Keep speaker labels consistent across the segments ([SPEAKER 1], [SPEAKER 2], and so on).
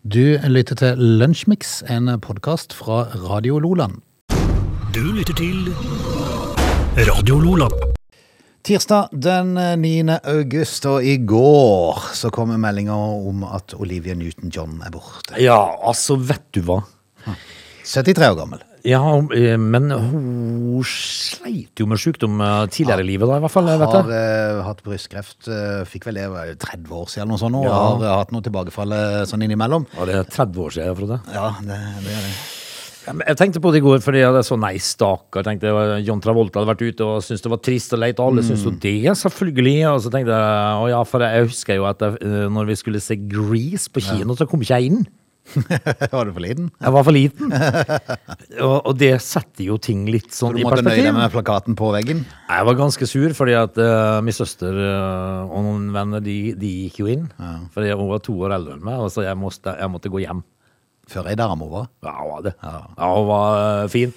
[SPEAKER 1] Du lytter til Lunsjmix, en podkast fra Radio Loland.
[SPEAKER 2] Du lytter til Radio Lola.
[SPEAKER 1] Tirsdag den 9. august, og i går så kom meldinga om at Olivia Newton-John er borte.
[SPEAKER 3] Ja, altså, vet du hva?
[SPEAKER 1] 73 år gammel.
[SPEAKER 3] Ja, eh, men hun sleit jo med sykdom eh, tidligere i livet, da, i hvert fall. jeg Vet
[SPEAKER 1] Har
[SPEAKER 3] det.
[SPEAKER 1] eh, hatt brystkreft. eh, fikk vel det var jo 30 år siden, eller noe sånt, nå, og
[SPEAKER 3] Ja.
[SPEAKER 1] har eh, hatt noe tilbakefall eh, sånn innimellom.
[SPEAKER 3] Ja, det er 30 år siden, Frode.
[SPEAKER 1] Ja, det, det er det.
[SPEAKER 3] Ja, men Jeg tenkte på det i går, fordi jeg er så nei, stakkar. tenkte jeg, John Travolta hadde vært ute og syntes det var trist og leit, og alle syntes jo det, selvfølgelig. Og så tenkte jeg, å ja, for jeg husker jo at jeg, eh, når vi skulle se Grease på kino, så kom ikke jeg inn.
[SPEAKER 1] var det for liten?
[SPEAKER 3] Jeg var for liten. og, og det setter jo ting litt sånn
[SPEAKER 1] Du
[SPEAKER 3] i
[SPEAKER 1] måtte nøye
[SPEAKER 3] perspektiv.
[SPEAKER 1] deg med plakaten på veggen.
[SPEAKER 3] Jeg var ganske sur, fordi at eh, min søster eh, og noen venner, de, de gikk jo inn. Fordi hun var to år eldre enn meg, og så jeg måtte, jeg måtte gå hjem.
[SPEAKER 1] Før ei dame over.
[SPEAKER 3] Ja, hun var det. Ja, hun var eh, fin.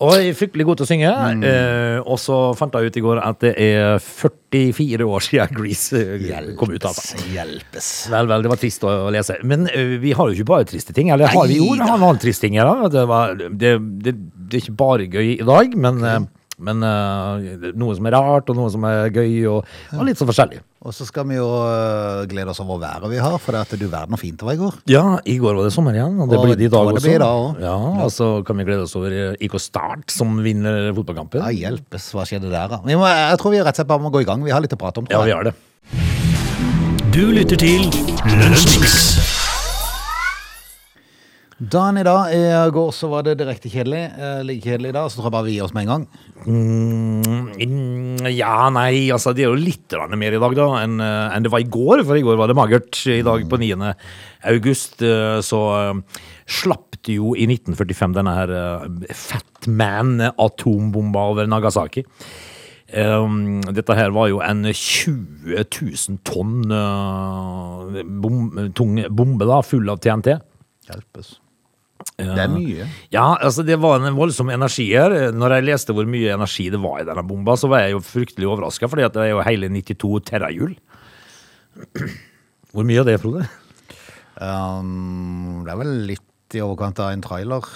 [SPEAKER 3] Og fryktelig god til å synge. eh, og så fant jeg ut i går at det er 44 år siden Grease eh, kom ut. Altså.
[SPEAKER 1] Hjelpes.
[SPEAKER 3] Vel, vel, det var trist å å lese. Men eh, vi har jo ikke bare triste ting. Eller har vi jo?
[SPEAKER 1] Nei
[SPEAKER 3] Vi
[SPEAKER 1] da.
[SPEAKER 3] har noen triste ting her, da. Det, var, det, det, det er ikke bare gøy i dag, men, eh, men eh, noe som er rart, og noe som er gøy, og, og litt sånn forskjellig.
[SPEAKER 1] Og så skal vi jo øh, glede oss over været vi har, for det at du verden hvor fint det var i går.
[SPEAKER 3] Ja, i går var det sommer igjen, og det
[SPEAKER 1] Og
[SPEAKER 3] blir det i dag
[SPEAKER 1] det
[SPEAKER 3] også.
[SPEAKER 1] blir det da også.
[SPEAKER 3] Ja, og så kan vi glede oss over eh, IK Start, som vinner fotballkampen.
[SPEAKER 1] Ja, hjelpes, hva skjedde der da? Vi må, jeg tror vi rett og slett bare må gå i gang, vi har litt å prate om. tror
[SPEAKER 3] Ja, vi
[SPEAKER 1] jeg.
[SPEAKER 3] har det.
[SPEAKER 2] Du lytter til Lunsjmix.
[SPEAKER 1] Dagen i dag, i går så var det direkte kjedelig, eh, like kjedelig i dag, så tror jeg bare vi gir oss med en gang.
[SPEAKER 3] Mm, Ja, nei, altså det er jo litt grann mer i dag da enn eh, enn det var i går, for i går var det magert. I dag på 9. august eh, så eh, slapp det jo i 1945 denne her eh, Fat Man-atombomba over Nagasaki. Um, dette her var jo en 20 000 tonn eh, bom, tung bombe da, full av TNT.
[SPEAKER 1] Hjelpes. Det er mye.
[SPEAKER 3] Ja, altså det var en voldsom energi her. Når jeg leste hvor mye energi det var i denne bomba, så var jeg jo fryktelig overraska, fordi at det er jo hele 92 terrahjul. Hvor mye er det, Frode?
[SPEAKER 1] Um, det er vel litt i overkant av en trailer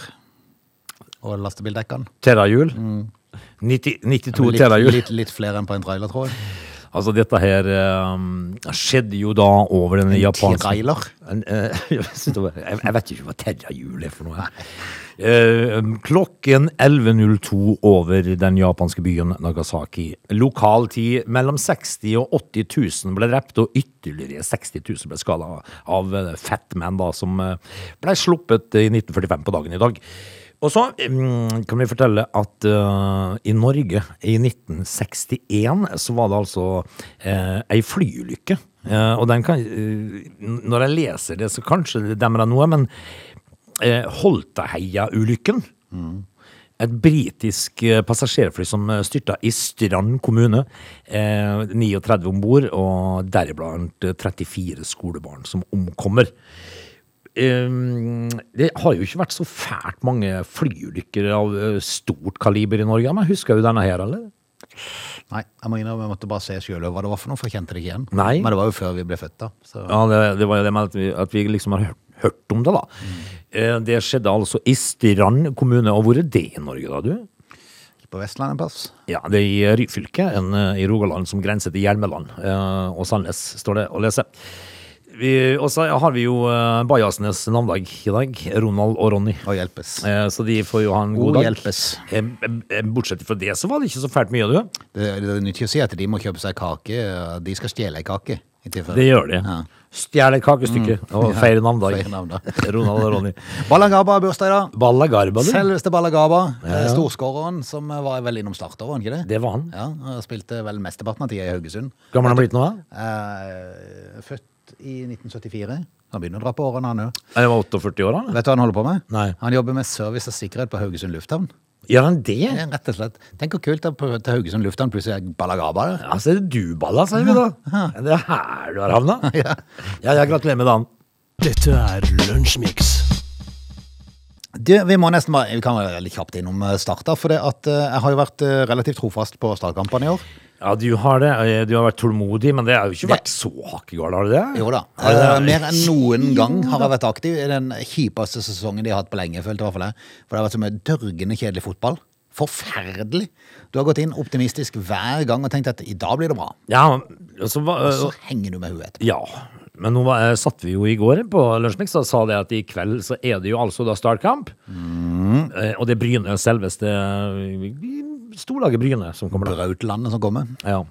[SPEAKER 1] og lastebildekkene.
[SPEAKER 3] Terrahjul? 90, 92
[SPEAKER 1] Litt,
[SPEAKER 3] terrahjul.
[SPEAKER 1] litt, litt flere enn på en trailer, tror jeg.
[SPEAKER 3] Altså, dette her ehm, skjedde jo da over den japanske
[SPEAKER 1] Trailer.
[SPEAKER 3] En, eh, jeg, synes det var- jeg jeg vet ikke hva terrahjul er for noe. Eh, klokken 11.02 over den japanske byen Nagasaki. Lokal tid mellom 60 000 og 80 000 ble drept, og ytterligere 60 000 ble skada av eh, Fat Man, da, som eh, ble sluppet i 1945 på dagen i dag. Og så mm, kan vi fortelle at eh, i Norge i 1961 så var det altså uh, ei flyulykke. Eh, og den kan, eh, n- når jeg leser det, så kanskje det demrer noe, men eh, Holtaheia-ulykken et britisk eh, passasjerfly som eh, styrta i Strand kommune. Eh, 39 om bord, og deriblant eh, 34 skolebarn som omkommer. Eh, det har jo ikke vært så fælt mange flyulykker av eh, stort kaliber i Norge. Men husker du denne her, eller?
[SPEAKER 1] Nei, jeg må innrømme, jeg måtte bare se selv hva det var for noe, for jeg kjente det ikke igjen.
[SPEAKER 3] Nei.
[SPEAKER 1] Men det var jo før vi ble født da. Så.
[SPEAKER 3] Ja, det, det var jo det med at vi, at vi liksom har hørt, hørt om det, da. Eh, det skjedde altså i Strand kommune. Og hvor er det i Norge, da, du?
[SPEAKER 1] På Vestlandet pass.
[SPEAKER 3] Ja, det er i Ryfylke, en eh, i Rogaland som grenser til Hjelmeland eh, og Sandnes, står det å lese. Vi- Og så har vi jo eh, Bajasnes navndag i dag, Ronald og Ronny.
[SPEAKER 1] Og hjelpes.
[SPEAKER 3] Eh, Så de får jo ha en
[SPEAKER 1] God
[SPEAKER 3] god dag.
[SPEAKER 1] hjelpes.
[SPEAKER 3] Eh, eh, Bortsett fra det så var det ikke så fælt mye, du.
[SPEAKER 1] Det, det er nyttig å si at de må kjøpe seg kake. De skal stjele ei kake. i tilfelle.
[SPEAKER 3] Det gjør de.
[SPEAKER 1] Ja. Mm.
[SPEAKER 3] Stjele kakestykke og feire navndag.
[SPEAKER 1] feire navndag.
[SPEAKER 3] Ronald og Ronny.
[SPEAKER 1] Ballagaba har bursdag i dag.
[SPEAKER 3] Balla Garba, du.
[SPEAKER 1] Selveste Ballagaba.
[SPEAKER 3] Mm.
[SPEAKER 1] Eh,
[SPEAKER 3] Ja, ja.
[SPEAKER 1] Storskåreren som var vel innom starter, var han ikke det?
[SPEAKER 3] Det var han.
[SPEAKER 1] Ja, og Spilte vel mesteparten av tida i Haugesund.
[SPEAKER 3] Gammel han er blitt nå, da?
[SPEAKER 1] Eh, født i 1974. Han begynner å dra på årene, han òg.
[SPEAKER 3] Jeg var 48 år, han.
[SPEAKER 1] Vet du hva han holder på med?
[SPEAKER 3] Nei.
[SPEAKER 1] Han jobber med service og sikkerhet på Haugesund lufthavn.
[SPEAKER 3] Gjør han det?
[SPEAKER 1] Ja, Rett og slett. Tenk hvor kult det er på til Haugesund lufthavn, plutselig er Ballagaba der.
[SPEAKER 3] Ja, så er altså, det du, Balla, sier vi da. Det er her du har havna. Ja, ja, gratulerer med dagen.
[SPEAKER 2] Dette er Lunsjmix.
[SPEAKER 1] Du, vi må nesten bare, vi kan være litt kjapt innom eh, Start da, for det at eh, jeg har jo vært eh, relativt trofast på startkampene i år.
[SPEAKER 3] Ja, du har det. Eh, Du har vært tålmodig, men det har jo ikke vært så hakkegal, har du det?
[SPEAKER 1] Jo da.
[SPEAKER 3] Har du
[SPEAKER 1] Eh,
[SPEAKER 3] det?
[SPEAKER 1] mer enn noen gang har jeg vært aktiv i den kjipeste sesongen de har hatt på lenge. følte jeg i hvert fall jeg. For det har vært så mye dørgende kjedelig fotball. Forferdelig. Du har gått inn optimistisk hver gang og tenkt at i dag blir det bra.
[SPEAKER 3] Ja, og så var-
[SPEAKER 1] Så henger du med huet etterpå.
[SPEAKER 3] Ja, men nå var, eh, satt vi jo i går på Lunsjmix og sa det at i kveld så er det jo altså da startkamp. Eh, Og det er Bryne, selveste eh, storlaget Bryne som kommer da.
[SPEAKER 1] Brautlandet som kommer.
[SPEAKER 3] Ja.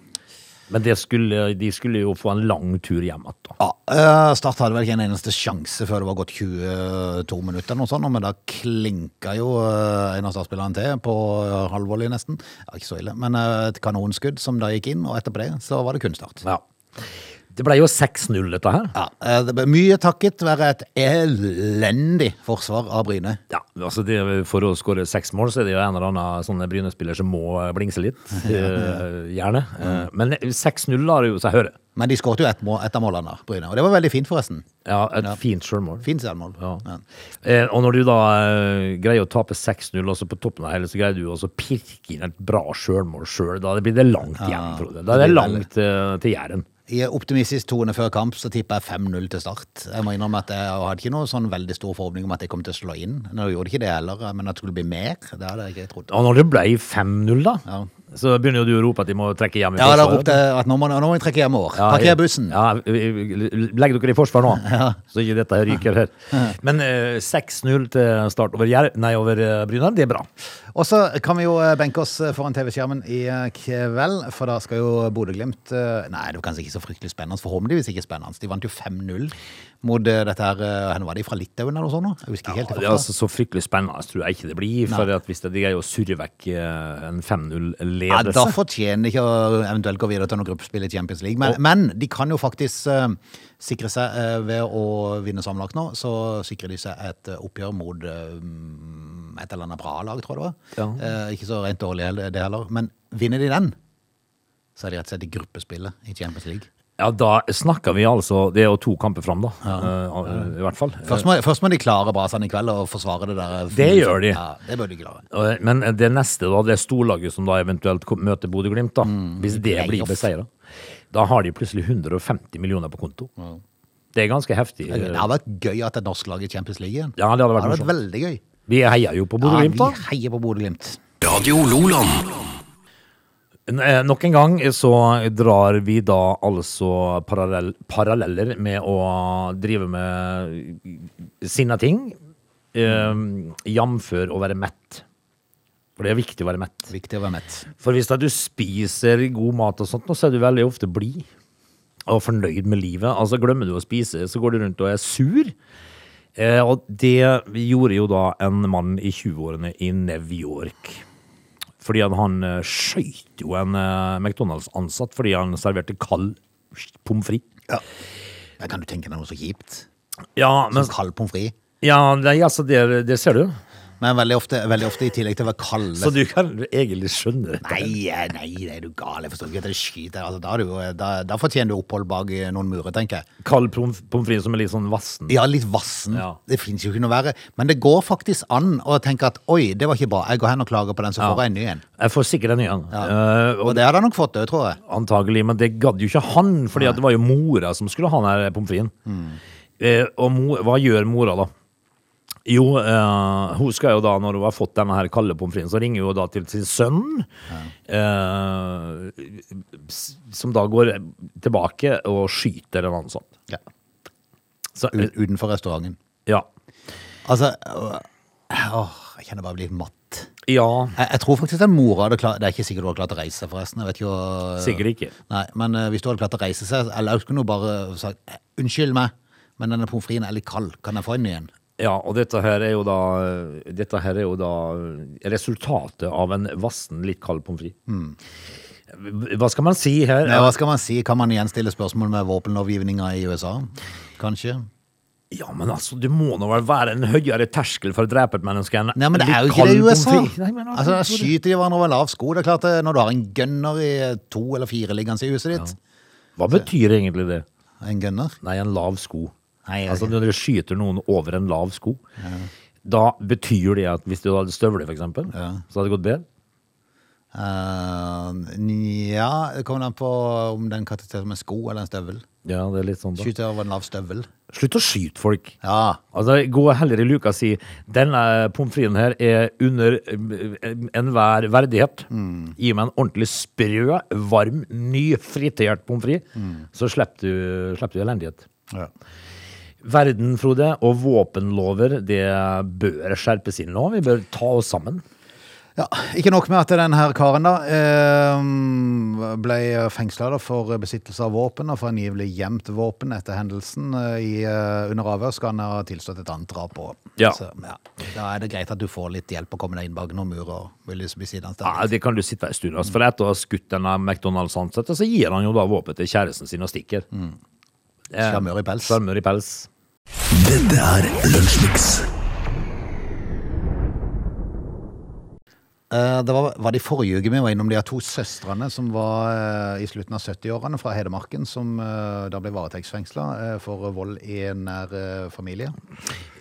[SPEAKER 3] Men det skulle, de skulle jo få en lang tur hjem igjen. da.
[SPEAKER 1] Ja, eh, Start hadde vel ikke en eneste sjanse før det var gått 22 minutter, eller noe sånt, men da klinka jo eh, en av startspillerne til på eh, halvvolley, nesten. Ja, ikke så ille, men eh, et kanonskudd som da gikk inn, og etterpå det så var det kun Start.
[SPEAKER 3] Ja. Det ble jo 6-0, dette her.
[SPEAKER 1] Ja, eh, det ble Mye takket være et elendig forsvar av Bryne.
[SPEAKER 3] Ja, altså det, For å skåre seks mål, så er det jo en eller annen sånne Bryne-spiller som må blingse litt. eh, gjerne. Eh, Men 6-0 lar jo seg høre.
[SPEAKER 1] Men de skåret jo ett mål, et av målene, da, Bryne. Og det var veldig fint, forresten.
[SPEAKER 3] Ja, Et fint sjølmål.
[SPEAKER 1] Fint selvmål.
[SPEAKER 3] Ja.
[SPEAKER 1] Ja.
[SPEAKER 3] Eh, og når du da eh, greier å tape 6-0, og så på toppen av hele, så greier du også å pirke inn et bra sjølmål sjøl. Da blir det langt igjen, Frode. Da er
[SPEAKER 1] det
[SPEAKER 3] det
[SPEAKER 1] blir
[SPEAKER 3] langt eh, til Jæren.
[SPEAKER 1] I optimistisk tone før kamp så tipper jeg 5-0 til start. Jeg må innrømme at jeg hadde ikke noe sånn veldig stor forhåpning om at jeg kom til å slå inn. Nå gjorde ikke det heller, men at det skulle bli mer, det hadde jeg ikke trodd.
[SPEAKER 3] Og når det ble 5-0, da,
[SPEAKER 1] Ja.
[SPEAKER 3] så begynner jo du å rope at de må trekke hjem. i
[SPEAKER 1] Ja, da
[SPEAKER 3] forsvaret.
[SPEAKER 1] ropte jeg at nå må, nå må vi trekke hjemover.
[SPEAKER 3] Ja,
[SPEAKER 1] Parker bussen.
[SPEAKER 3] Ja, legg dere i forsvar nå, så ikke dette her ryker her. Men eh, 6-0 til start over, Jær- nei, over eh, Bryne, det er bra.
[SPEAKER 1] Og så kan vi jo eh, benke oss eh, foran TV-skjermen i eh, kveld, for da skal jo Bodø-Glimt eh, Nei, det var kanskje ikke så fryktelig spennende, forhåpentligvis ikke spennende. De vant jo 5-0 mot eh, dette her eh, Hvor var de? Fra Litauen eller noe sånt? nå? Jeg husker ikke helt.
[SPEAKER 3] Det
[SPEAKER 1] i
[SPEAKER 3] er
[SPEAKER 1] farta.
[SPEAKER 3] altså så fryktelig spennende, tror jeg ikke det blir. For at hvis det de greier å surre vekk eh,
[SPEAKER 1] Ja,
[SPEAKER 3] en
[SPEAKER 1] da
[SPEAKER 3] 5-0-ledelse
[SPEAKER 1] fortjener de ikke å eventuelt gå videre til noe gruppespill i Champions League. Men, men de kan jo faktisk eh, sikre seg eh, ved å vinne sammenlagt nå. Så sikrer de seg et eh, oppgjør mot eh, et eller annet bra lag, tror jeg det var.
[SPEAKER 3] Ja.
[SPEAKER 1] Eh, ikke så rent dårlig heller- det heller. Men vinner de den, så er de rett og slett i gruppespillet i Champions League.
[SPEAKER 3] Ja, da snakker vi altså Det er jo to kamper fram, da. eh, I hvert fall.
[SPEAKER 1] Først må, først må de klare Brasan i kveld og forsvare det der. eh,
[SPEAKER 3] Det gjør de.
[SPEAKER 1] Ja, det bør de klare.
[SPEAKER 3] Eh, Men det neste, da, det storlaget som da eventuelt kom- møter Bodø-Glimt, da,
[SPEAKER 1] Mm.
[SPEAKER 3] hvis det blir
[SPEAKER 1] playoff.
[SPEAKER 3] beseira, da har de plutselig 150 millioner på konto. Det er ganske heftig.
[SPEAKER 1] Det hadde vært gøy at et norsk lag i Champions League igjen.
[SPEAKER 3] Ja, det
[SPEAKER 1] Det
[SPEAKER 3] hadde vært
[SPEAKER 1] hadde
[SPEAKER 3] morsomt.
[SPEAKER 1] vært veldig gøy.
[SPEAKER 3] Vi heier jo på
[SPEAKER 1] Ja, vi
[SPEAKER 3] Bodø-Glimt, da.
[SPEAKER 1] heier på Bodø-Glimt.
[SPEAKER 2] Radio Loland.
[SPEAKER 3] N- eh, Nok en gang så drar vi da altså parallell, paralleller med å drive med sinna ting, eh, jamfør å være mett. For det er viktig å være mett.
[SPEAKER 1] Viktig å være mett.
[SPEAKER 3] For hvis da du spiser god mat og sånt, nå, så er du veldig ofte blid og fornøyd med livet. Altså Glemmer du å spise, så går du rundt og er sur. Eh, og det gjorde jo da en mann i 20-årene i New York. Fordi at han eh, skøyt jo en eh, McDonald's-ansatt fordi han serverte kald pommes frites.
[SPEAKER 1] Men kan du tenke deg noe så kjipt?
[SPEAKER 3] Ja, men,
[SPEAKER 1] Som kald pommes frites?
[SPEAKER 3] ja nei, altså, det, det ser du.
[SPEAKER 1] Men veldig ofte, veldig ofte i tillegg til å være kald
[SPEAKER 3] Så du kan egentlig skjønne det.
[SPEAKER 1] Nei, eh, nei, det er du gal. Jeg forstår ikke at det skyter. Altså, da, er du, jo- da, da fortjener du opphold bak eh, noen murer, tenker jeg.
[SPEAKER 3] Kald pommes pommes frites som er litt sånn vassen.
[SPEAKER 1] Ja, litt vassen.
[SPEAKER 3] Ja.
[SPEAKER 1] Det fins jo ikke noe verre. Men det går faktisk an å tenke at oi, det var ikke bra. Jeg går hen og klager på den, så får jeg en ny en.
[SPEAKER 3] Jeg får sikkert en ny en. Eh,
[SPEAKER 1] Og det hadde han nok fått òg, tror jeg.
[SPEAKER 3] Antagelig, men det gadd jo ikke han, fordi at det var jo mora som skulle ha den her pommes fritesen.
[SPEAKER 1] Mm.
[SPEAKER 3] Eh, og mo, hva gjør mora da? Jo, eh, hun skal jo da, når hun har fått denne her kalde pommes fritesen, så ringer hun jo da til sin sønn, eh, s- som da går tilbake og skyter en ansatt.
[SPEAKER 1] Ja.
[SPEAKER 3] Så,
[SPEAKER 1] U-
[SPEAKER 3] eh,
[SPEAKER 1] Utenfor restauranten.
[SPEAKER 3] ja.
[SPEAKER 1] Altså øh, Åh, jeg kjenner bare jeg blir matt.
[SPEAKER 3] Ja,
[SPEAKER 1] Jeg, jeg tror faktisk den mora hadde klart Det er ikke sikkert hun hadde klart å reise seg, forresten. Jeg vet ikke hva-
[SPEAKER 3] sikkert ikke.
[SPEAKER 1] Nei, men eh, hvis du hadde klart å reise seg, eller jeg skulle nå bare sagt eh, unnskyld meg, men denne pommes fritesen er litt kald, kan jeg få en ny en?
[SPEAKER 3] Ja, og dette her er jo da, dette her er jo da resultatet av en vassen, litt kald pommes frites. Hva skal man si her?
[SPEAKER 1] Mm. Nei, hva skal man si? Kan man gjenstille spørsmål med våpenlovgivninga i USA? Kanskje?
[SPEAKER 3] Ja, men altså, det må nå vel være en høyere terskel for å drepe et menneske enn
[SPEAKER 1] Nei, men det
[SPEAKER 3] litt
[SPEAKER 1] er jo ikke
[SPEAKER 3] kald
[SPEAKER 1] det i USA!
[SPEAKER 3] pommes frites. Nei, men
[SPEAKER 1] Altså, da skyter de hverandre over lav sko. Det er klart, det, når du har en gunner i eh, to eller fire liggende i huset ditt
[SPEAKER 3] Hva betyr egentlig det?
[SPEAKER 1] En gunner?
[SPEAKER 3] Nei, en lav sko.
[SPEAKER 1] Nei, jeg-
[SPEAKER 3] altså, når du skyter noen over en lav sko, da betyr det at hvis du hadde støvler, for eksempel, så hadde det gått bedre.
[SPEAKER 1] Eh, ja, det kommer an på om den karakteriseres som en sko eller en støvel.
[SPEAKER 3] Ja, det er litt sånn da.
[SPEAKER 1] Skyter over en lav støvel.
[SPEAKER 3] Slutt å skyte folk.
[SPEAKER 1] Ja.
[SPEAKER 3] Altså, Gå heller i luka og si denne pommes fritesen her er under eh, enhver verdighet. Gi meg en ordentlig sprø, varm, ny, fritert pommes frites, så slipper du, slipper du elendighet.
[SPEAKER 1] ja.
[SPEAKER 3] Verden, Frode, og våpenlover, det bør skjerpes inn nå. Vi bør ta oss sammen.
[SPEAKER 1] Ja, Ikke nok med at den her karen da eh, ble fengsla for besittelse av våpen og for angivelig gjemt våpen etter hendelsen. eh, I, eh, under avhør skal han ha tilstått et annet drap òg.
[SPEAKER 3] Ja.
[SPEAKER 1] Så, ja. Da er det greit at du får litt hjelp å komme deg inn bak noen mur og vil liksom bli sideanstendig.
[SPEAKER 3] Ja, det kan du sitte en stund. Altså, for etter å ha skutt denne McDonald's-ansatte, så gir han jo da våpen til kjæresten sin og stikker. Eh,
[SPEAKER 1] Sjarmør i pels.
[SPEAKER 3] Sjarmør i pels.
[SPEAKER 2] Dette er Lunsjmix.
[SPEAKER 1] Eh, Det var, var det i forrige uke vi var innom de her to søstrene som var eh, i slutten av 70-årene fra Hedmarken, som eh, da ble varetektsfengsla eh, for vold i en nær eh, familie.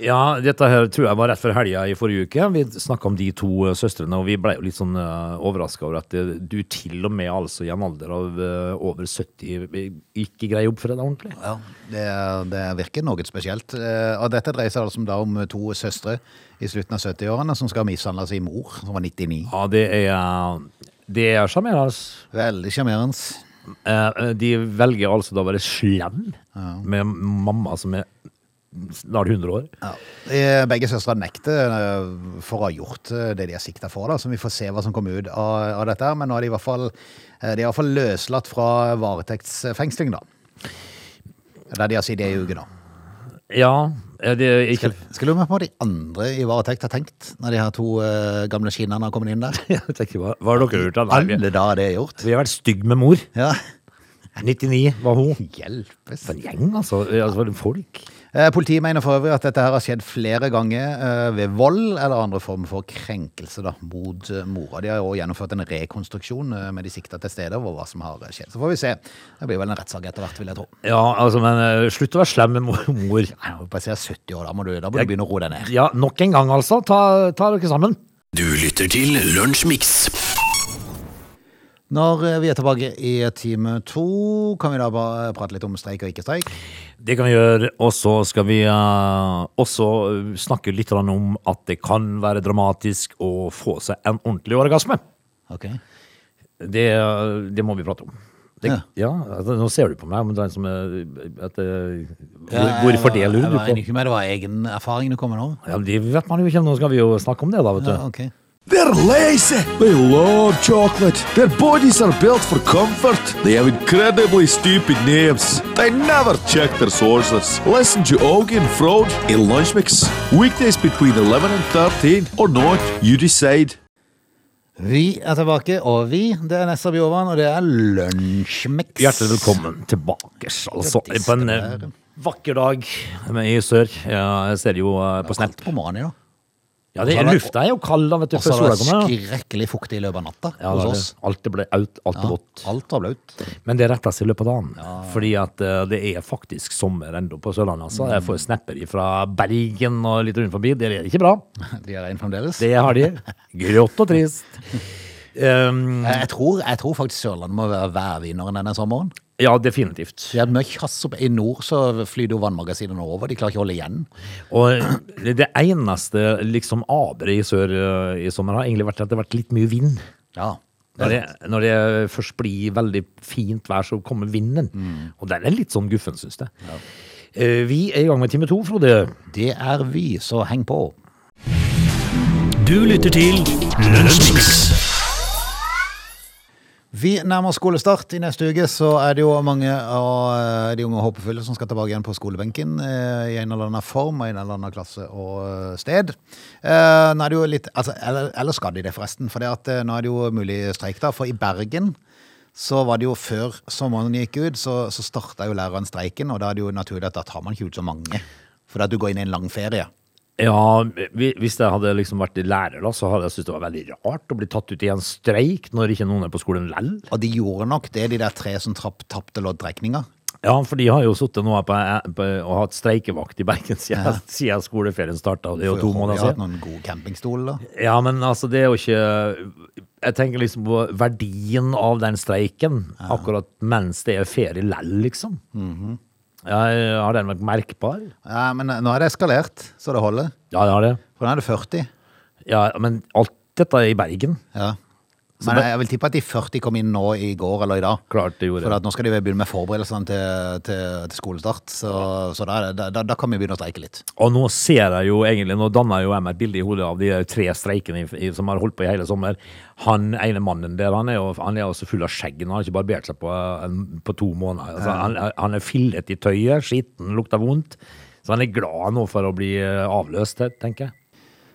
[SPEAKER 3] Ja, dette her tror jeg var rett før helga i forrige uke. Vi snakka om de to eh, søstrene, og vi ble jo litt sånn uh, overraska over at eh, du til og med altså i en alder av eh, over eh, 70 ikke greier å oppføre deg ordentlig.
[SPEAKER 1] Ja, det, det virker noe spesielt. Eh, Og dette dreier seg altså om da om to søstre i slutten av 70-årene som skal ha mishandla sin mor, som var 99.
[SPEAKER 3] Ja, det er Det er sjarmerende. altså.
[SPEAKER 1] Veldig sjarmerende.
[SPEAKER 3] Eh, de velger altså da å være slem med mamma som er snart 100 år.
[SPEAKER 1] Ja. Eh, Begge søstre nekter eh, for å ha gjort eh, det de er sikta for, da, så vi får se hva som kommer ut av, av dette. her. Men nå er de i hvert fall, eh, de er i hvert fall løslatt fra varetektsfengsling, da. Der de har sittet i ei uke, da.
[SPEAKER 3] Ja, eh, det er ikke
[SPEAKER 1] Skal, skal du med på hva de andre i varetekt har tenkt, når de her to eh, gamle skinnene har kommet inn der?
[SPEAKER 3] Jeg tenker, hva, hva har dere gjort? da? Nei, vi,
[SPEAKER 1] Alle da det er gjort.
[SPEAKER 3] vi har vært stygge med mor.
[SPEAKER 1] Ja.
[SPEAKER 3] 99 var hun.
[SPEAKER 1] Hjelpes.
[SPEAKER 3] For en gjeng, altså. Eh, altså for en folk.
[SPEAKER 1] Eh, Politiet mener for øvrig at dette her har skjedd flere ganger eh, ved vold eller andre former for krenkelse da, mot eh, mora. De har jo også gjennomført en rekonstruksjon eh, med de sikta til stede over hva som har eh, skjedd. Så får vi se. Det blir vel en rettssak etter hvert, vil jeg tro.
[SPEAKER 3] Ja, altså, men eh, slutt å være slem med mor. mor.
[SPEAKER 1] Nei, Når du passerer 70 år, da må du, da må du begynne å roe deg ned.
[SPEAKER 3] Ja, nok en gang, altså. Ta, ta dere sammen.
[SPEAKER 2] Du lytter til Lunsjmix.
[SPEAKER 1] Når eh, vi er tilbake i time to, kan vi da bare eh, prate litt om streik og ikke streik.
[SPEAKER 3] Det kan vi gjøre. Og så skal vi eh, også snakke litt grann om at det kan være dramatisk å få seg en ordentlig orgasme.
[SPEAKER 1] Ok.
[SPEAKER 3] Det, eh, det må vi prate om. Det,
[SPEAKER 1] Ja.
[SPEAKER 3] ja. altså, nå ser du på meg, men det er en som er at, eh, hvor, Hvorfor det, lurer
[SPEAKER 1] Jeg
[SPEAKER 3] du
[SPEAKER 1] var
[SPEAKER 3] på?
[SPEAKER 1] enig med det var egen erfaring du kom med nå.
[SPEAKER 3] Ja, men det vet man jo ikke, nå skal vi jo snakke om det da, vet du.
[SPEAKER 1] Ja, ok.
[SPEAKER 4] They're lazy. They love chocolate. Their bodies are built for comfort. They have incredibly stupid names. They never check their sources. Listen to Augie and Frode in Lunch Mix. Weekdays between 11 and 13 or not, you decide.
[SPEAKER 1] Vi er tilbake, og vi, det er Nessa Bjovan, og det er Lunsjmix.
[SPEAKER 3] Hjertelig velkommen tilbake, altså,
[SPEAKER 1] Grattis,
[SPEAKER 3] på en
[SPEAKER 1] det
[SPEAKER 3] eh,
[SPEAKER 1] er-
[SPEAKER 3] vakker dag i sør. Ja, jeg ser det jo eh, på snap.
[SPEAKER 1] Kaldt på morgenen, ja.
[SPEAKER 3] Ja,
[SPEAKER 1] Og
[SPEAKER 3] det,
[SPEAKER 1] så har det-
[SPEAKER 3] lufta er jo kald da, vet du,
[SPEAKER 1] Og så
[SPEAKER 3] før
[SPEAKER 1] er
[SPEAKER 3] sola
[SPEAKER 1] det
[SPEAKER 3] kommer. Ja.
[SPEAKER 1] skrekkelig fuktig i løpet av natta
[SPEAKER 3] Ja, det
[SPEAKER 1] hos
[SPEAKER 3] er
[SPEAKER 1] oss.
[SPEAKER 3] det. alt det ble ut, alt er vått.
[SPEAKER 1] Alt var blaut.
[SPEAKER 3] Men det retter seg i løpet av dagen. Fordi at eh, det er faktisk sommer enda på Sørlandet. Altså. Jeg får snapper fra Bergen og litt rundt forbi. Det er ikke bra.
[SPEAKER 1] De er rein fremdeles.
[SPEAKER 3] Det har de. Grått og trist. Um,
[SPEAKER 1] Eh, Jeg tror, jeg tror faktisk Sørlandet må være værvinneren denne sommeren.
[SPEAKER 3] ja, definitivt.
[SPEAKER 1] De hadde mye kjass opp. I nord så flyr det jo vannmagasinene over. De klarer ikke å holde igjen.
[SPEAKER 3] Og det, det eneste liksom aberet i sør eh, i sommer har egentlig vært at det har vært litt mye vind.
[SPEAKER 1] Ja.
[SPEAKER 3] Når det, når det først blir veldig fint vær, så kommer vinden. Og den er litt sånn guffen, syns jeg. Eh, Vi er i gang med time to, Frode.
[SPEAKER 1] Det er vi, så heng på.
[SPEAKER 2] Du lytter til Lunsjmix.
[SPEAKER 1] Vi nærmer oss skolestart. I neste uke så er det jo mange av eh, de unge og håpefulle som skal tilbake igjen på skolebenken eh, i en eller annen form og i en eller annen klasse og eh, sted. Eh, Nå er det jo litt, altså, eller, eller skal de det forresten? For det at, eh, nå er det jo mulig streik da, for i Bergen så var det jo før sommeren gikk ut, så, så starta jo læreren streiken, og da er det jo naturlig at da tar man ikke ut så mange. For at du går inn i en lang ferie.
[SPEAKER 3] Ja, vi- hvis jeg hadde liksom vært lærer, da, så hadde jeg syntes det var veldig rart å bli tatt ut i en streik når ikke noen er på skolen lell.
[SPEAKER 1] Og de gjorde nok det, de der tre som trapp- tapte loddtrekninga.
[SPEAKER 3] Ja, for de har jo sittet nå på, på, og hatt streikevakt i Bergen siden, siden skoleferien starta. Det er jo to måneder
[SPEAKER 1] siden.
[SPEAKER 3] siden.
[SPEAKER 1] Noen god campingstol, da.
[SPEAKER 3] Ja, men altså, det er jo ikke Jeg tenker liksom på verdien av den streiken akkurat mens det er ferie lell, liksom. ja, har den vært merkbar?
[SPEAKER 1] Ja, men nå er det eskalert, så det holder.
[SPEAKER 3] Ja, det har det.
[SPEAKER 1] For nå er det 40.
[SPEAKER 3] Ja, men alt dette er i Bergen.
[SPEAKER 1] Ja. Men jeg vil tippe at de 40 kom inn nå i går eller i dag.
[SPEAKER 3] Klart det gjorde.
[SPEAKER 1] For at nå skal de vel begynne med forberedelsene til, til, til skolestart, så, så da, er det- da, da kan vi begynne å streike litt.
[SPEAKER 3] Og nå ser jeg jo egentlig, nå danner jo jeg meg et bilde i hodet av de der tre streikene i- i- som har holdt på i hele sommer. Han ene mannen der, han er jo han er også full av skjegg. Han har ikke barbert seg på, eh, en- på to måneder. Altså, han, han er fillet i tøyet, skitten, lukter vondt. Så han er glad nå for å bli eh, avløst, tenker jeg.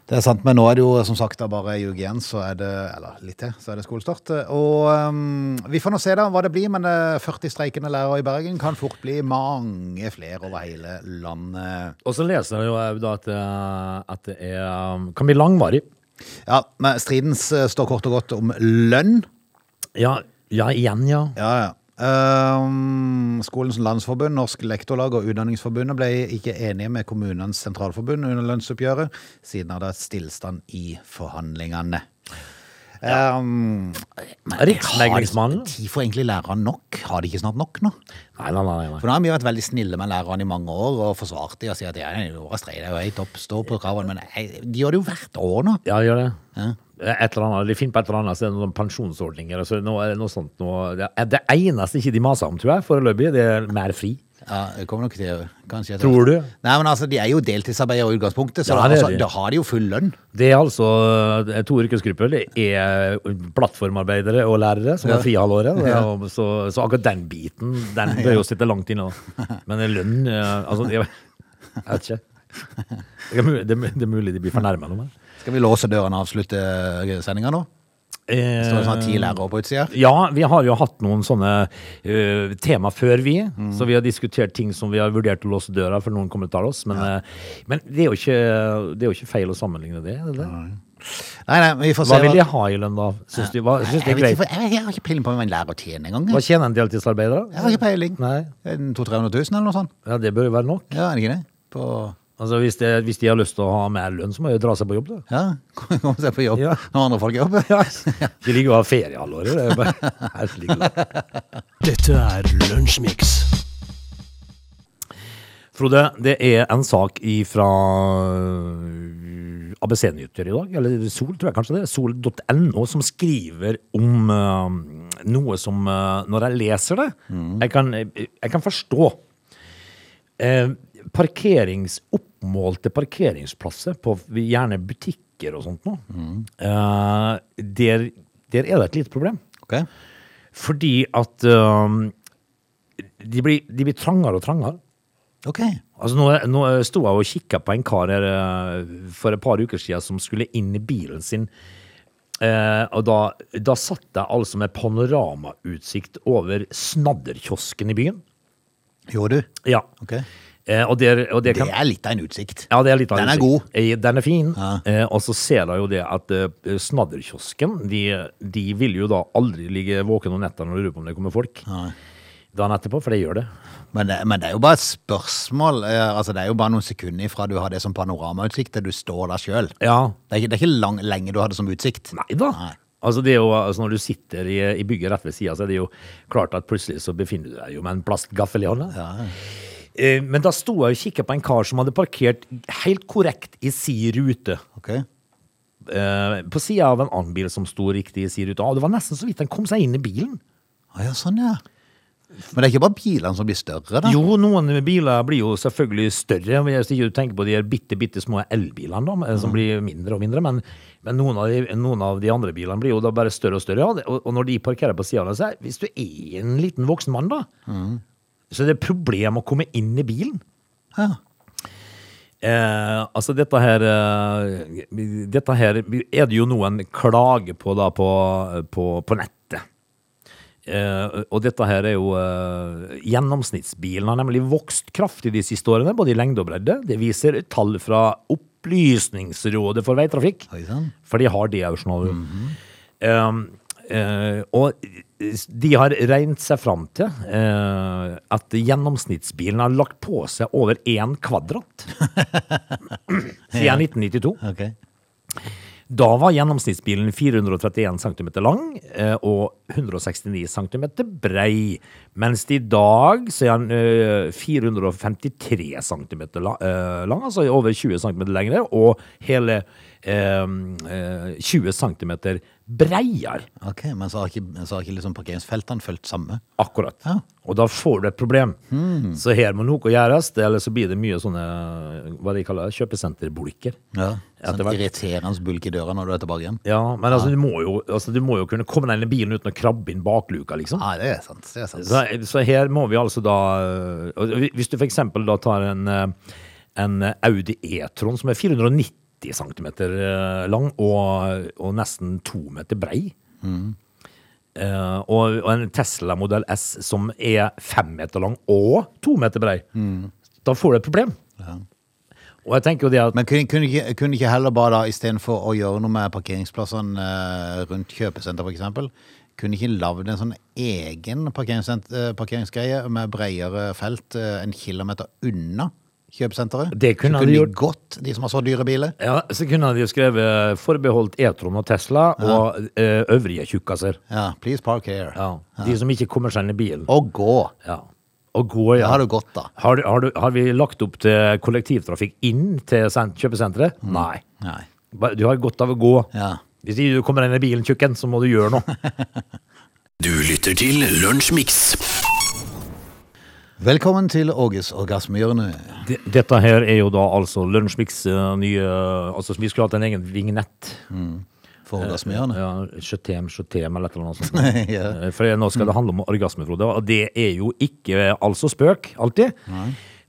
[SPEAKER 1] Det er sant, men nå er det jo som sagt da bare ei uke igjen, så er det eller litt til, så er det skolestart. Og ehm, vi får nå se da hva det blir, men eh, 40 streikende lærere i Bergen kan fort bli mange flere over hele landet.
[SPEAKER 3] Og så leser jeg jo eh, da at, eh, at det er, um, kan bli langvarig.
[SPEAKER 1] Ja, men striden eh, står kort og godt om lønn.
[SPEAKER 3] Ja, ja igjen, ja.
[SPEAKER 1] Ja, ja. Ehm, Skolens landsforbund, Norsk lektorlag og Utdanningsforbundet ble ikke enige med Kommunenes sentralforbund under lønnsoppgjøret, siden det hadde vært stillstand i forhandlingene. Ehm,
[SPEAKER 3] Riksmeglingsmannen.
[SPEAKER 1] tid får egentlig lærerne nok? Har de ikke snart nok nå?
[SPEAKER 3] Nei, nei, nei. nei.
[SPEAKER 1] For nå har vi vært veldig snille med lærerne i mange år og forsvart de og sier at ja, det er jo streit, det er jo helt topp, stå på kravene, men nei, de gjør det jo hvert år nå.
[SPEAKER 3] Ja, gjør det. Eh, Et eller annet, De finner på et eller annet, så er det noen pensjonsordninger og så er det noe, noe sånt. Noe. Det, er det eneste ikke de maser om, tror jeg, foreløpig, det er mer fri.
[SPEAKER 1] Ja, det kommer nok til, kanskje. etter
[SPEAKER 3] Tror
[SPEAKER 1] hvert.
[SPEAKER 3] du?
[SPEAKER 1] Nei, men altså, de er jo deltidsarbeidere i utgangspunktet, så
[SPEAKER 3] Ja,
[SPEAKER 1] da,
[SPEAKER 3] det er
[SPEAKER 1] altså,
[SPEAKER 3] de.
[SPEAKER 1] da har de jo full lønn.
[SPEAKER 3] Det er altså eh, to yrkesgrupper. Det er eh, plattformarbeidere og lærere, som er frihalvåret. det er jo- Så, så akkurat den biten, den bør jo sitte langt inne. da. Men lønn eh, Altså, jeg jeg vet ikke. Det er mulig- Det er mu- det er mulig de blir fornærma nå. men-
[SPEAKER 1] Skal vi låse dørene og avslutte sendinga nå?
[SPEAKER 3] Eh,
[SPEAKER 1] Står det sånn ti lærere på utsida?
[SPEAKER 3] Ja, vi har jo hatt noen sånne eh, tema før vi,
[SPEAKER 1] Mm.
[SPEAKER 3] så vi har diskutert ting som vi har vurdert å låse døra for noen kommer til å ta oss, men, eh, men det, er jo ikke, det er jo ikke feil å sammenligne det, er det det?
[SPEAKER 1] Nei, nei, vi får se.
[SPEAKER 3] Hva vil de ha i lønn da? Synes du, hva, synes du
[SPEAKER 1] jeg, vet
[SPEAKER 3] det er
[SPEAKER 1] ikke,
[SPEAKER 3] greit?
[SPEAKER 1] for jeg, jeg har ikke peiling på hvem en lærer tjener engang.
[SPEAKER 3] Hva
[SPEAKER 1] Jeg.
[SPEAKER 3] tjener en deltidsarbeider da?
[SPEAKER 1] jeg har ikke peiling.
[SPEAKER 3] Nei,
[SPEAKER 1] 200-300 000 eller noe sånt?
[SPEAKER 3] ja, det bør jo være nok.
[SPEAKER 1] Ja, er det ikke det? På,
[SPEAKER 3] Altså, hvis, det, hvis de har lyst til å ha mer lønn, så må de jo dra seg på jobb da.
[SPEAKER 1] ja, Komme seg på jobb
[SPEAKER 3] Ja.
[SPEAKER 1] når andre folk jobber.
[SPEAKER 3] Ja, de ligger jo av feriehalvåret, det er bare herlig glad.
[SPEAKER 2] Dette er Lunsjmix.
[SPEAKER 3] Frode, det er en sak fra eh, ABC-nyheter i dag, eller Sol, tror jeg kanskje det, er, sol.no, som skriver om eh, noe som, eh, når jeg leser det, jeg, kan, jeg kan forstå. Eh, parkerings, oppmålte parkeringsplasser på gjerne butikker og sånt nå, eh, der, der er det et lite problem.
[SPEAKER 1] Ok.
[SPEAKER 3] Fordi at eh, de, blir, de blir trangere og trangere.
[SPEAKER 1] Ok.
[SPEAKER 3] Altså nå, nå sto jeg og kikka på en kar her eh, for et par uker siden som skulle inn i bilen sin. Eh, og da, da satt jeg altså med panoramautsikt over Snadderkiosken i byen.
[SPEAKER 1] Jo, du.
[SPEAKER 3] Ja.
[SPEAKER 1] Ok.
[SPEAKER 3] Eh, og der, og der
[SPEAKER 1] Det
[SPEAKER 3] kan,
[SPEAKER 1] er litt av en utsikt.
[SPEAKER 3] ja, det er litt av en
[SPEAKER 1] Den er
[SPEAKER 3] utsikt.
[SPEAKER 1] god.
[SPEAKER 3] Eh, Den er fin.
[SPEAKER 1] Ja.
[SPEAKER 3] Eh, og så ser jeg jo det at eh, Snadderkiosken de, de vil jo da aldri ligge våken om nettene og lure på om det kommer folk.
[SPEAKER 1] Nei.
[SPEAKER 3] Dagen etterpå, for det gjør det.
[SPEAKER 1] Men det, men det er jo bare et spørsmål. eh, Altså, det er jo bare noen sekunder ifra du har det som panoramautsikt til du står der sjøl.
[SPEAKER 3] Ja,
[SPEAKER 1] Det er ikke, det er ikke lang, lenge du har det som utsikt.
[SPEAKER 3] Nei da.
[SPEAKER 1] Nei.
[SPEAKER 3] Altså det er jo, altså når du sitter i, i bygget rett ved sida, så er det jo klart at plutselig så befinner du deg jo med en plastgaffel i hånda. Eh, Men da sto jeg og kikka på en kar som hadde parkert helt korrekt i si rute.
[SPEAKER 1] Ok.
[SPEAKER 3] Eh, På sida av en annen bil som sto riktig i si rute. Ah, Det var nesten så vidt han kom seg inn i bilen.
[SPEAKER 1] Å ja, sånn ja. Men det er ikke bare bilene som blir større, da?
[SPEAKER 3] Jo, noen biler blir jo selvfølgelig større. Hvis ikke du tenker på de her bitte, bitte små elbilene, da, som blir mindre og mindre. Men, men noen, av de, noen av de andre bilene blir jo da bare større og større. Ja. det- Og, og når de parkerer på siden av seg, hvis du er en liten voksen mann, da, så er det et problem å komme inn i bilen.
[SPEAKER 1] Ja.
[SPEAKER 3] Eh, altså dette her eh, Dette her er det jo noen klager på da på, på, på nettet. Eh, og dette her er jo eh, Gjennomsnittsbilen har nemlig vokst kraftig de siste årene, både i lengde og bredde. Det viser tall fra Opplysningsrådet for veitrafikk.
[SPEAKER 1] Oi sann.
[SPEAKER 3] For de har det òg, skjønner du. Ehm, Eh, eh, og de har regnet seg fram til eh, at gjennomsnittsbilen har lagt på seg over én kvadrat siden 1992.
[SPEAKER 1] Ok.
[SPEAKER 3] Da var gjennomsnittsbilen 431 cm lang eh, og 169 cm brei, mens i dag så er den eh, 453 cm lang, eh, lang, altså over 20 cm lengre, og hele eh, eh, 20 cm breiere.
[SPEAKER 1] Ok, Men så har ikke, så har ikke liksom parkeringsfeltene fulgt samme?
[SPEAKER 3] Akkurat.
[SPEAKER 1] Ja.
[SPEAKER 3] Og da får du et problem. Så her må noe gjøres, eller så blir det mye sånne hva de kaller det, kjøpesenterbulker.
[SPEAKER 1] Ja.
[SPEAKER 3] Etter
[SPEAKER 1] Sånn
[SPEAKER 3] hvert.
[SPEAKER 1] irriterende bulk i døra når du er tilbake igjen?
[SPEAKER 3] Ja, men altså, Du, må jo, altså, du må jo kunne komme deg inn i bilen uten å krabbe inn bakluka, liksom.
[SPEAKER 1] Nei, det er sant. Det er sant.
[SPEAKER 3] Så, så her må vi altså da og Hvis du for eksempel da tar en, eh, en Audi E-tron som er 490 cm eh, lang og, og nesten to meter brei, eh, og, og en Tesla modell S som er fem meter lang og to meter brei, da får du et problem. Og jeg tenker jo det at
[SPEAKER 1] Men kunne, kunne, ikke, kunne ikke heller bare da, istedenfor å gjøre noe med parkeringsplassene eh, rundt kjøpesenter f.eks., kunne ikke lagd en sånn egen parkeringssent- eh, parkeringsgreie med bredere felt eh, en kilometer unna kjøpesenteret?
[SPEAKER 3] Det kunne
[SPEAKER 1] så
[SPEAKER 3] han
[SPEAKER 1] kunne de
[SPEAKER 3] gjort.
[SPEAKER 1] gått, de som har så dyre biler.
[SPEAKER 3] ja, så kunne de jo skrevet eh, forbeholdt E-tron og Tesla og eh, øvrige tjukkaser.
[SPEAKER 1] Ja, please park here.
[SPEAKER 3] Ja. De som ikke kommer seg inn i bilen.
[SPEAKER 1] Og gå.
[SPEAKER 3] Ja. Og går,
[SPEAKER 1] Det
[SPEAKER 3] ja.
[SPEAKER 1] har du gått, da.
[SPEAKER 3] Har, du- har, du, har vi lagt opp til kollektivtrafikk inn til sen- kjøpesenteret? Nei.
[SPEAKER 1] Nei.
[SPEAKER 3] Ba- Du har godt av å gå.
[SPEAKER 1] Ja.
[SPEAKER 3] Hvis ikke du kommer deg inn i bilen, tjukken, så må du gjøre noe.
[SPEAKER 2] Du lytter til Lunsjmix.
[SPEAKER 1] Velkommen til Åges orgasmehjørne.
[SPEAKER 3] D- Dette her er jo da altså Lunsjmix eh, nye Altså, vi skulle hatt en egen vignett.
[SPEAKER 1] For orgasmehjørne.
[SPEAKER 3] Ja, Sjøtem, sjøtem, eller et eller annet sånt.
[SPEAKER 1] Ja.
[SPEAKER 3] Eh, For nå skal det handle om orgasme, Frode. Og det er jo ikke eh, altså spøk, alltid.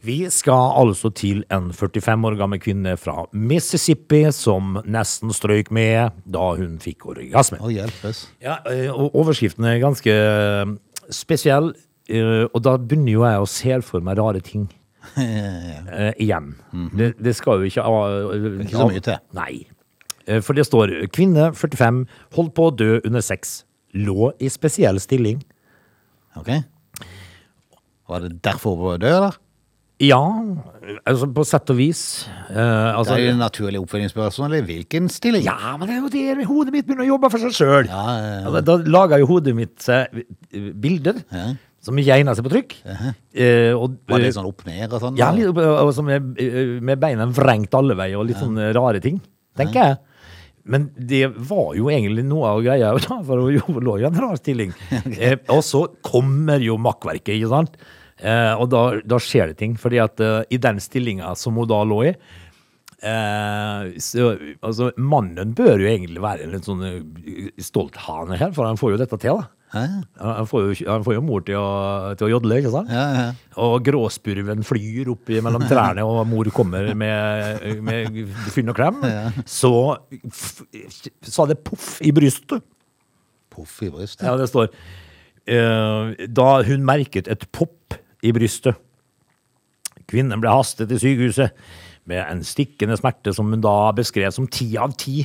[SPEAKER 3] Vi skal altså til en 45 år gammel kvinne fra Mississippi som nesten strøyk med da hun fikk orgasme.
[SPEAKER 1] Å, hjelpes.
[SPEAKER 3] Ja, eh, og overskriften er ganske eh, spesiell, eh, og da begynner jo jeg å se for meg rare ting. Eh, igjen. det, det skal jo ikke Ikke
[SPEAKER 1] Mhm. så mye til.
[SPEAKER 3] Nei. Eh, For det står 'kvinne 45 holdt på å dø under sex'. Lå i spesiell stilling.
[SPEAKER 1] Ok. Var det derfor hun var død, eller?
[SPEAKER 3] Ja, altså på sett og vis. Eh, altså,
[SPEAKER 1] Det er jo det naturlige oppfølgingsspørsmålet. Hvilken stilling?
[SPEAKER 3] ja, men det er jo der hodet mitt begynner å jobbe for seg sjøl.
[SPEAKER 1] Ja, ja, ja.
[SPEAKER 3] Da, da lager jo hodet mitt seg eh, bilder
[SPEAKER 1] Ja.
[SPEAKER 3] som ikke egner seg på trykk. Eh, og,
[SPEAKER 1] Var det sånn opp ned og sånn?
[SPEAKER 3] Ja,
[SPEAKER 1] eller?
[SPEAKER 3] litt, opp- og som er eh, med beina vrengt alle veier og litt sånne rare ting, tenker jeg. Men det var jo egentlig noe av greia, da, for hun jo- lå jo i en rar stilling. Eh, og så kommer jo makkverket, ikke sant? Eh, og da, da skjer det ting, fordi at eh, i den stillinga som hun da lå i, eh, så, altså, mannen bør jo egentlig være en litt sånn eh, stolt hane her, for han får jo dette til, da.
[SPEAKER 1] Hæ?
[SPEAKER 3] Han han får, jo, han får jo mor til å, til å jodle, ikke sant?
[SPEAKER 1] Ja, ja.
[SPEAKER 3] Og gråspurven flyr opp i- mellom trærne, og mor kommer med, med fynn og klem. Så f- sa det poff i brystet.
[SPEAKER 1] Poff i brystet.
[SPEAKER 3] Ja, det står. eh, Da hun merket et popp i brystet. Kvinnen ble hastet til sykehuset med en stikkende smerte som hun da beskrev som ti av ti.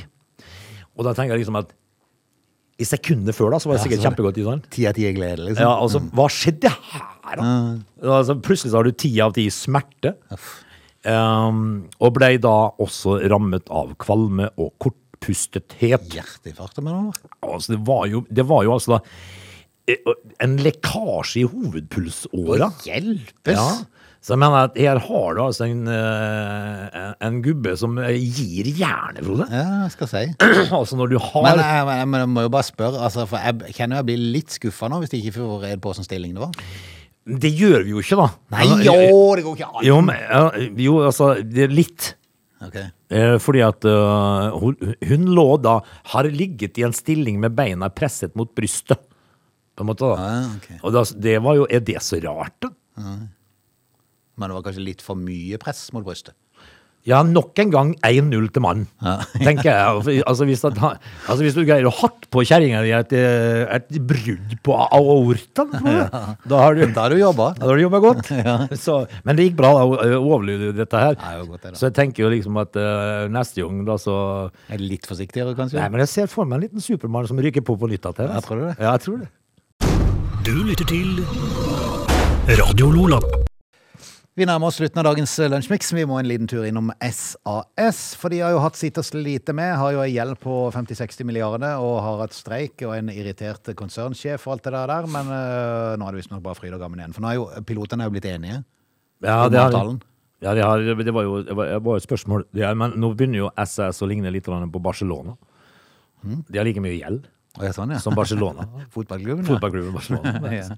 [SPEAKER 3] Og da tenker jeg liksom at i sekundet før da, så var det
[SPEAKER 1] Ja,
[SPEAKER 3] sikkert
[SPEAKER 1] så var det-
[SPEAKER 3] kjempegodt. sånn. Ikke sant?
[SPEAKER 1] Ti av ti er glede, liksom.
[SPEAKER 3] Ja, altså, hva skjedde her da? Altså, plutselig så har du 10 av 10 smerte, um, og ble da også rammet av kvalme og kortpustethet.
[SPEAKER 1] Hjerteinfarkt med noe?
[SPEAKER 3] Altså, det var jo, det var jo altså da, eh, en lekkasje i hovedpulsåra.
[SPEAKER 1] Hjelpes!
[SPEAKER 3] Ja. Så jeg mener at her har du altså en, eh, en gubbe som eh, gir hjerne, Frode.
[SPEAKER 1] Ja, jeg skal si.
[SPEAKER 3] altså når du har...
[SPEAKER 1] Men eh, jeg, men jeg, men jeg må jo bare spørre, altså, for jeg kjenner jeg blir litt skuffa nå, hvis de ikke får red på åssen stilling det var.
[SPEAKER 3] det gjør vi jo ikke da.
[SPEAKER 1] Nei,
[SPEAKER 3] Altså,
[SPEAKER 1] jo, det går ikke an!
[SPEAKER 3] Jo, men, ja, jo, altså, det er litt...
[SPEAKER 1] Ok.
[SPEAKER 3] Eh, Fordi at øh, hun, hun lå da Har ligget i en stilling med beina presset mot brystet. På en måte, da.
[SPEAKER 1] Ah, ok.
[SPEAKER 3] Og da, det var jo Er det så rart, da?
[SPEAKER 1] Men det var kanskje litt for mye press mot brystet.
[SPEAKER 3] Ja, nok en gang 1-0 til mannen, tenker jeg. Altså hvis, at, han- altså hvis du greier å hardt på kjerringa di et, eh, et brudd på aorta, da har du
[SPEAKER 1] Da har du jobba.
[SPEAKER 3] Ja, Da har du jobba godt. så, men det gikk bra, da. å- å Overlevde dette her.
[SPEAKER 1] Ja, det var godt, det da.
[SPEAKER 3] så jeg tenker jo liksom at eh, neste gang, da, så
[SPEAKER 1] Er det Litt forsiktigere, kanskje?
[SPEAKER 3] Nei, men jeg ser for meg en liten Supermann som ryker på på nytt. at det,
[SPEAKER 1] Ja, tror du det?
[SPEAKER 3] Ja, jeg tror det.
[SPEAKER 2] Du lytter til Radio Lola.
[SPEAKER 1] Vi nærmer oss slutten av dagens eh, lunsjmix. Vi må en liten tur innom SAS. For de har jo hatt sitt å slite med. Har jo ei gjeld på 50-60 milliarder og har hatt streik og en irritert konsernsjef og alt det der. der. Men øh, nå er det visstnok bare fryd og gammen igjen. For nå er jo pilotene er jo blitt enige.
[SPEAKER 3] Ja,
[SPEAKER 1] om
[SPEAKER 3] det, har,
[SPEAKER 1] avtalen.
[SPEAKER 3] ja, det, har, det var jo det var, det var et spørsmål. Det er, men nå begynner jo SS å ligne litt grann på Barcelona. De har like mye gjeld
[SPEAKER 1] Å, ja, sånn, Mm. ja.
[SPEAKER 3] som Barcelona.
[SPEAKER 1] Fotballklubben. ja.
[SPEAKER 3] Fotballklubben Barcelona.
[SPEAKER 1] Ja.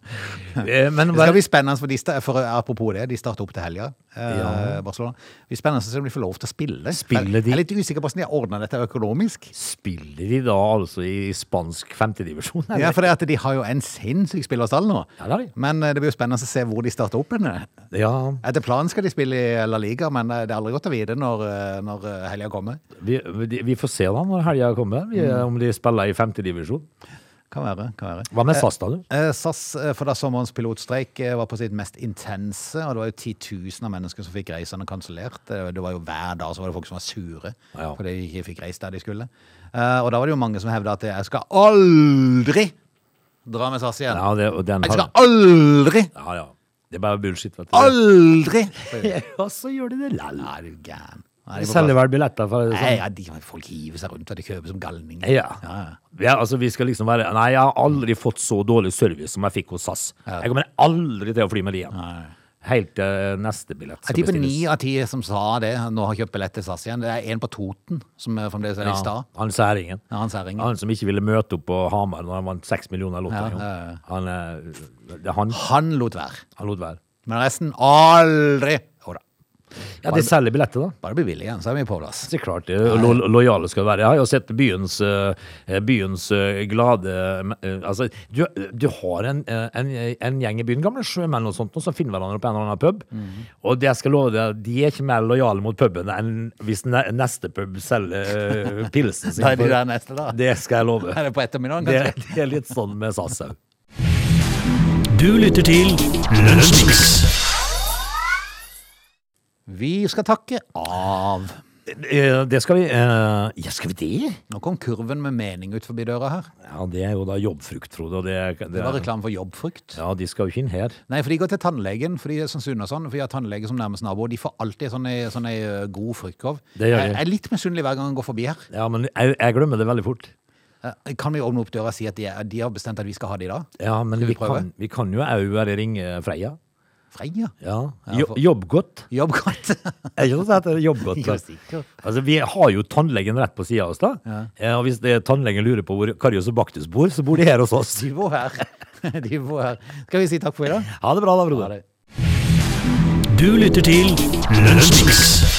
[SPEAKER 3] Eh, Men
[SPEAKER 1] Det
[SPEAKER 3] hva-
[SPEAKER 1] skal bli spennende, for, de, sta- for eh, apropos det, de starter opp til helga. Eh,
[SPEAKER 3] Ja.
[SPEAKER 1] Barcelona. Det blir spennende å se om de får lov til å spille.
[SPEAKER 3] Spiller de?
[SPEAKER 1] Jeg er litt usikker på hvordan de har ordna dette økonomisk.
[SPEAKER 3] spiller de da altså i spansk femtedivisjon?
[SPEAKER 1] Ja, for det at de har jo en sinnssyk spillerstall nå.
[SPEAKER 3] Ja, det har de.
[SPEAKER 1] Men eh, det blir jo spennende å se hvor de starter opp. henne.
[SPEAKER 3] ja
[SPEAKER 1] Etter planen skal de spille i La Liga, men eh, det er aldri godt å vite når, eh, når eh, helga kommer.
[SPEAKER 3] vi, vi- vi får se da når helga kommer, vi,
[SPEAKER 1] Mm.
[SPEAKER 3] om de spiller i femtedivisjon.
[SPEAKER 1] Kan være. kan være.
[SPEAKER 3] Hva med SAS, da? du?
[SPEAKER 1] Eh, SAS, eh, for da sommerens pilotstreik eh, var på sitt mest intense, og det var jo titusener av mennesker som fikk reisene kansellert. Eh, Det var jo hver dag så var det folk som var sure
[SPEAKER 3] Ja.
[SPEAKER 1] fordi de ikke fikk reist der de skulle. Eh, Og da var det jo mange som hevda at eh, jeg skal aldri dra med SAS igjen.
[SPEAKER 3] Ja, det, og den
[SPEAKER 1] Jeg skal
[SPEAKER 3] har,
[SPEAKER 1] aldri,
[SPEAKER 3] ja, ja. Det er bare bullshit, vet du.
[SPEAKER 1] aldri!
[SPEAKER 3] Og så gjør de det lell.
[SPEAKER 1] Nei, er du gæren. Nei,
[SPEAKER 3] De
[SPEAKER 1] de får
[SPEAKER 3] selger
[SPEAKER 1] bare-
[SPEAKER 3] vel billetter for sånn det? sånn.
[SPEAKER 1] Nei, ja, de, folk hiver seg rundt og de kjøper som galninger.
[SPEAKER 3] Ja.
[SPEAKER 1] sånn. Ja, ja.
[SPEAKER 3] ja. Altså, vi skal liksom være Nei, jeg har aldri fått så dårlig service som jeg fikk hos SAS. Jeg kommer aldri til å fly med de igjen. Helt til eh, neste billett
[SPEAKER 1] Jeg
[SPEAKER 3] skal
[SPEAKER 1] tipper
[SPEAKER 3] bestilles.
[SPEAKER 1] ni av ti som sa det, nå har kjøpt billett til SAS igjen. Det er en på Toten som eh, fremdeles er litt sta.
[SPEAKER 3] Ja, han særingen.
[SPEAKER 1] Ja, han særingen.
[SPEAKER 3] Han som ikke ville møte opp på Hamar når han vant seks millioner i Lotto.
[SPEAKER 1] Ja, ja, ja.
[SPEAKER 3] Han, eh, det er han,
[SPEAKER 1] Han lot være.
[SPEAKER 3] han lot være.
[SPEAKER 1] Men resten aldri! Jo da.
[SPEAKER 3] Ja, de selger billetter, da.
[SPEAKER 1] Bare det blir billig igjen, så er vi på plass.
[SPEAKER 3] Så klart det lo lojale skal være. Jeg har jo sett byens, eh, byens eh, glade eh, Altså, du, du har en, eh, en, en gjeng i byen, gamle sjømenn og sånt, og som finner hverandre på en eller annen pub.
[SPEAKER 1] Mhm.
[SPEAKER 3] Og det jeg skal love deg, de er ikke mer lojale mot puben enn hvis ne neste pub selger eh, pilsen sin.
[SPEAKER 1] Da er de
[SPEAKER 3] For
[SPEAKER 1] der neste, da.
[SPEAKER 3] Det skal jeg love.
[SPEAKER 1] Er det på ettermiddagen,
[SPEAKER 3] Det,
[SPEAKER 1] kanskje?
[SPEAKER 3] det er litt sånn med SAS òg.
[SPEAKER 2] Du lytter til Lunsjmix.
[SPEAKER 1] Vi skal takke av.
[SPEAKER 3] Det skal vi eh, Ja, skal vi det?
[SPEAKER 1] Nå kom kurven med mening ut forbi døra her.
[SPEAKER 3] Ja, det er jo da jobbfrukt, Frode. Og det, er-
[SPEAKER 1] Det var reklame for jobbfrukt.
[SPEAKER 3] Ja, de skal jo ikke inn her.
[SPEAKER 1] Nei, for de går til tannlegen, for de er sånn sunne og sånn. For de har tannlege som nærmest nabo, og de får alltid sånn ei sånn ei, ø, god fruktkorv.
[SPEAKER 3] Det gjør de.
[SPEAKER 1] Jeg jeg er litt misunnelig hver gang jeg går forbi her.
[SPEAKER 3] Ja, men jeg, jeg glemmer det veldig fort.
[SPEAKER 1] Eh, Kan vi åpne opp døra og si at de, er- de har bestemt at vi skal ha de i dag?
[SPEAKER 3] Ja, men
[SPEAKER 1] vi
[SPEAKER 3] vi,
[SPEAKER 1] prøve?
[SPEAKER 3] kan, vi kan jo òg bare ringe Freia.
[SPEAKER 1] Freia?
[SPEAKER 3] Ja.
[SPEAKER 1] Ja, for-
[SPEAKER 3] Jo- Jobbgodt.
[SPEAKER 1] Jobbkatt?
[SPEAKER 3] Er ikke det det heter? Jobbgodt.
[SPEAKER 1] Ja, sikkert.
[SPEAKER 3] Altså, vi har jo tannlegen rett på sida av oss, da. Eh, Og hvis det, tannlegen lurer på hvor Karius og Baktus bor, så bor de her hos oss.
[SPEAKER 1] De bor her. De bor her. Skal vi si takk for i dag?
[SPEAKER 3] Ha det bra, da,
[SPEAKER 1] Ha
[SPEAKER 3] broder.
[SPEAKER 1] det.
[SPEAKER 2] Du lytter til Lunsjmix.